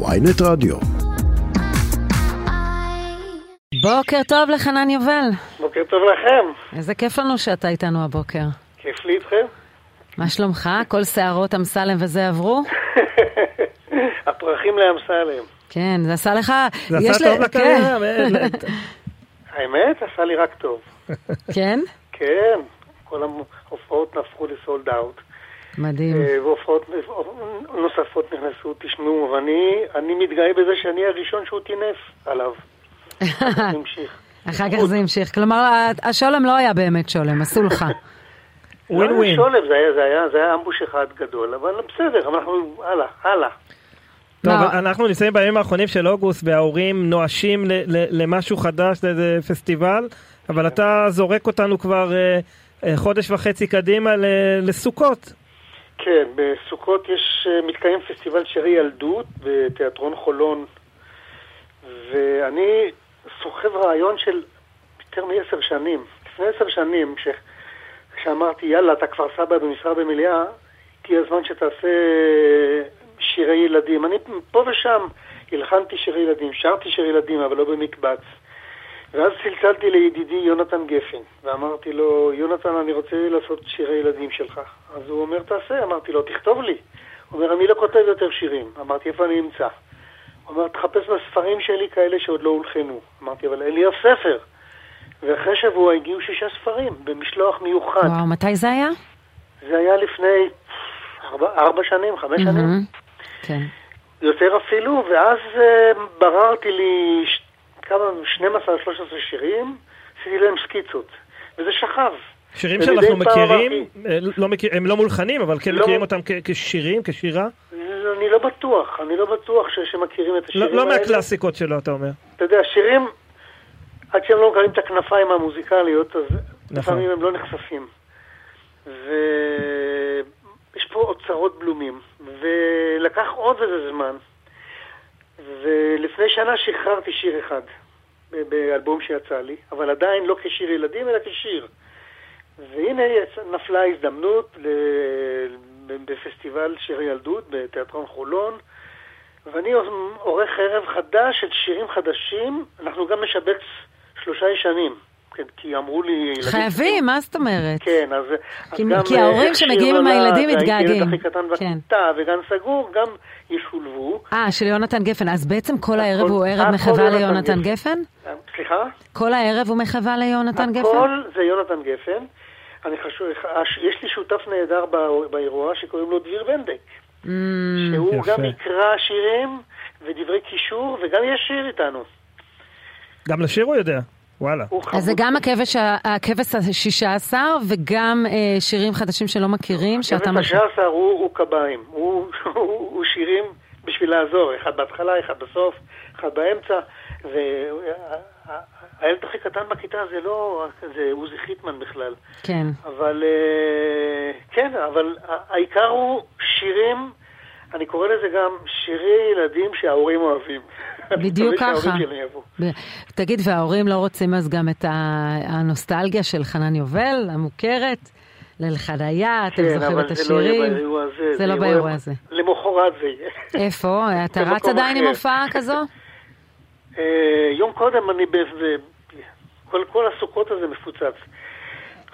ויינט רדיו. בוקר טוב לחנן יובל. בוקר טוב לכם, איזה כיף לנו שאתה איתנו הבוקר. כיף לי איתכם. מה שלומך? כל שערות אמסלם וזה עברו? הפרחים לאמסלם. כן, זה עשה לך... זה יש עשה ל- טוב לקריירה, באמת. האמת, עשה לי רק טוב. כן, כן? כן, כל ההופעות נהפכו לסולד אאוט. אה, מדהים. והופעות נוספות נכנסו, תשמעו, ואני אני מתגאה בזה שאני הראשון שהוא טינף עליו. נמשיך. אחר כך זה המשיך. כלומר, ה- השולם לא היה באמת שולם, עשו לך. ווין לא ווין. שולב, זה היה- זה היה- זה היה אמבוש אחד גדול, אבל בסדר, אבל אנחנו, הלאה, הלאה. טוב, מה? אנחנו נמצאים בימים האחרונים של אוגוסט וההורים נואשים ל- ל- למשהו חדש, לאיזה פסטיבל, אבל אתה זורק אותנו כבר אה, אה, חודש וחצי קדימה ל- לסוכות. כן, בסוכות יש, אה, מתקיים פסטיבל שירי ילדות בתיאטרון חולון, ואני סוחב רעיון של יותר מעשר שנים. לפני עשר שנים, כש, כשאמרתי, יאללה, אתה כבר סבא במשרה במליאה, תהיה הזמן שתעשה אה, שירי ילדים. אני פה ושם הלחנתי שירי ילדים, שרתי שירי ילדים, אבל לא במקבץ. ואז צלצלתי לידידי יונתן גפן, ואמרתי לו, יונתן, אני רוצה לעשות שירי ילדים שלך. אז הוא אומר, תעשה. אמרתי לו, תכתוב לי. הוא אומר, אני לא כותב יותר שירים. אמרתי, איפה אני אמצא? הוא אומר, תחפש בספרים שלי כאלה שעוד לא הולחנו. אמרתי, אבל אין לי אף ספר. ואחרי שבוע הגיעו שישה ספרים, במשלוח מיוחד. וואו, מתי זה היה? זה היה לפני ארבע, ארבע שנים, חמש שנים. מהמם. כן. יותר אפילו, ואז אה, בררתי לי ש... כמה, 12-13 שירים, עשיתי להם סקיצות, וזה שכב. שירים ומדי שאנחנו פעם מכירים, אמרתי, אה, לא מכיר- הם לא מולחנים, אבל כן לא. מכירים אותם כ- כשירים, כשירה. אני לא בטוח, אני לא בטוח ש... שמכירים את לא השירים לא האלה. מהקלאסיקות שלו, אתה אומר. אתה יודע, שירים, עד שהם לא מקבלים את הכנפיים המוזיקליות, אז נכון. לפעמים הם לא נחשפים. ויש פה אוצרות בלומים, ולקח עוד איזה זמן. ולפני שנה שחררתי שיר אחד ב- באלבום שיצא לי, אבל עדיין לא כשיר ילדים, אלא כשיר. והנה יצא- נפלה ההזדמנות ל- ב- בפסטיבל שיר ילדות בתיאטרון חולון, ואני עורך ערב חדש של שירים חדשים, אנחנו גם נשבץ שלושה ישנים, כן, כי אמרו לי... ילדים- חייבים, מה זאת אומרת? כן, אז... אז כי- גם, כי ההורים אה, שמגיעים שיר עם נולד, הילדים והילד מתגעגעים. הכי קטן כן. בכיתה וגן סגור, גם ישולבו. אה, של יונתן גפן. אז בעצם כל הערב הכל- הוא ערב הכל מחווה יונתן ליונתן גפן. גפן? אה, סליחה? כל הערב הוא מחווה ליונתן גפן? הכל זה יונתן גפן. אני חשוב, הש- יש לי שותף נהדר בא- באירוע שקוראים לו דביר בנדק, Mm, שהוא יפה. גם יקרא שירים ודברי קישור וגם ישיר איתנו. גם לשיר הוא יודע. וואלה. הוא אז זה חמוד. גם הכבש ה- הכבש השישה עשר וגם אה, שירים חדשים שלא מכירים, שאתה שבט משהו. הג'אסר הוא הוא קביים, הוא הוא- הוא שירים בשביל לעזור, אחד בהתחלה, אחד בסוף, אחד באמצע, והילד הכי קטן בכיתה זה לא, זה עוזי חיטמן בכלל. כן. אבל אה, כן, אבל ה- העיקר הוא שירים, אני קורא לזה גם שירי ילדים שההורים אוהבים. אני בדיוק מקווה ככה. שההורים שלי אוהבו. ב- תגיד, וההורים לא רוצים אז גם את ה- הנוסטלגיה של חנן יובל, המוכרת? ליל חניה, אתם כן, זוכרים אבל את זה לא יהיה השירים? באירוע הזה. זה לא יהיה באירוע הזה. למחרת זה יהיה. איפה? אתה במקום רץ עדיין עם אחר. הופעה כזו? אה, יום קודם אני ב... ב- כל, כל הסוכות הזה מפוצץ.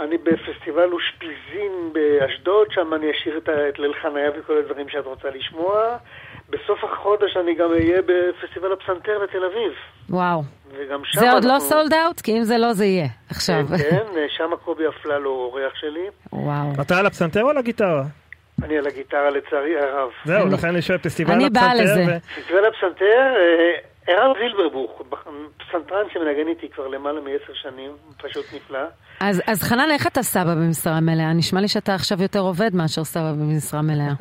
אני בפסטיבל אושפיזין באשדוד, שם אני אשאיר את, ה- את ליל חניה וכל הדברים שאת רוצה לשמוע. בסוף החודש אני גם אהיה בפסטיבל הפסנתר בתל אביב. וואו. וגם שם זה עוד לא אנחנו- סולד אאוט? כי אם זה לא, זה יהיה. עכשיו. כן, כן, שם קובי אפללו הוא אורח שלי. וואו. אתה על הפסנתר או על הגיטרה? אני על הגיטרה לצערי הרב. זהו, אני- לכן אני שואל פסטיבל אני באה הפסנתר. לזה. ו- פסטיבל הפסנתר, אה, ערן זילברבוך, פסנתרן שמנגן איתי כבר למעלה מעשר שנים, פשוט נפלא. אז, אז חנן, איך אתה סבא במשרה מלאה? נשמע לי שאתה עכשיו יותר עובד מאשר סבא במשרה מלאה.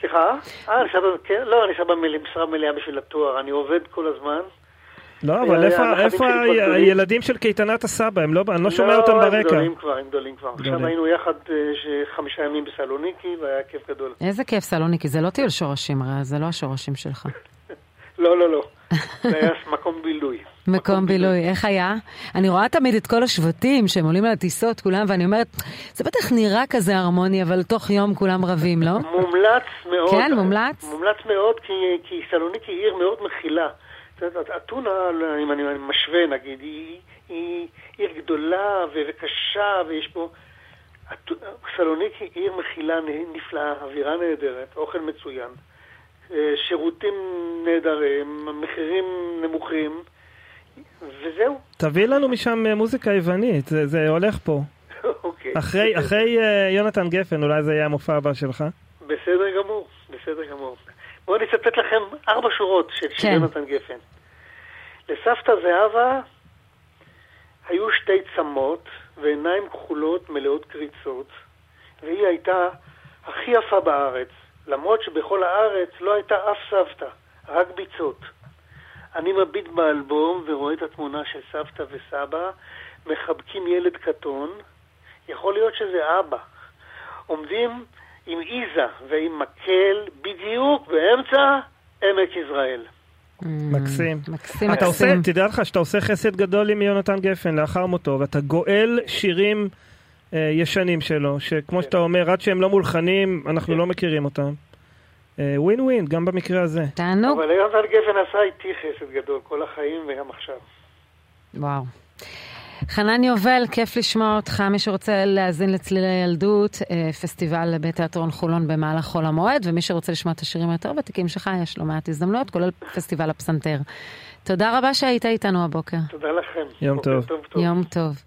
סליחה? אה, אני סבא, כן, לא, אני סבא במשרה מלאה בשביל התואר, אני עובד כל הזמן. לא, אבל איפה- הנכדים איפה שלי כבר ה- גדולים. הילדים של קייטנת הסבא? הם לא- אני לא שומע אותם לא, הם ברקע. גדולים כבר, הם גדולים כבר. גדולים. עכשיו היינו יחד אה, ש- חמישה ימים בסלוניקי, והיה כיף גדול. איזה כיף, סלוניקי, זה לא טיול שורשים, הרי זה לא השורשים שלך. לא, לא, לא. זה היה מקום בילוי. מקום בילוי, איך היה? אני רואה תמיד את כל השבטים שהם עולים על הטיסות כולם, ואני אומרת, זה בטח נראה כזה הרמוני, אבל תוך יום כולם רבים, לא? מומלץ מאוד. כן, מומלץ? מומלץ מאוד, כי, כי סלוניקי היא עיר מאוד מכילה. את יודעת, אתונה, אם אני אני משווה נגיד, היא, היא עיר גדולה ו- וקשה, ויש פה... אתו- סלוניקי היא עיר מכילה נ- נפלאה, אווירה נהדרת, אוכל מצוין, אה, שירותים נהדרים, מחירים נמוכים, וזהו. תביא לנו משם אה, מוזיקה יוונית, זה, זה הולך פה. אוקיי. אחרי, אחרי אה, יונתן גפן, אולי זה יהיה המופע הבא שלך. בסדר גמור, בסדר גמור. בואו נצטט לכם ארבע שורות של שיר כן. יונתן גפן. לסבתא זהבה היו שתי צמות ועיניים כחולות מלאות קריצות, והיא הייתה הכי יפה בארץ, למרות שבכל הארץ לא הייתה אף סבתא, רק ביצות. אני מביט באלבום ורואה את התמונה של סבתא וסבא מחבקים ילד קטון, יכול להיות שזה אבא. עומדים עם איזה ועם מקל בדיוק באמצע עמק יזרעאל. מקסים. מקסים, אתה עושה, מקסים. תדע לך שאתה עושה חסד גדול עם יונתן גפן לאחר מותו, ואתה גואל שירים אה, ישנים שלו, שכמו שאתה אומר, עד שהם לא מולחנים, אנחנו לא מכירים אותם. אה, ווין ווין, גם במקרה הזה. תענוג. אבל יונתן גפן עשה איתי חסד גדול כל החיים וגם עכשיו. וואו. חנן יובל, כיף לשמוע אותך. מי שרוצה להאזין לצלילי ילדות, אה, פסטיבל בית תיאטרון חולון במהלך חול המועד, ומי שרוצה לשמוע את השירים היותר ותיקים שלך, יש לא מעט הזדמנויות, כולל פסטיבל הפסנתר. תודה רבה שהיית איתנו הבוקר. תודה לכם. יום בוקר טוב. טוב, טוב. יום טוב.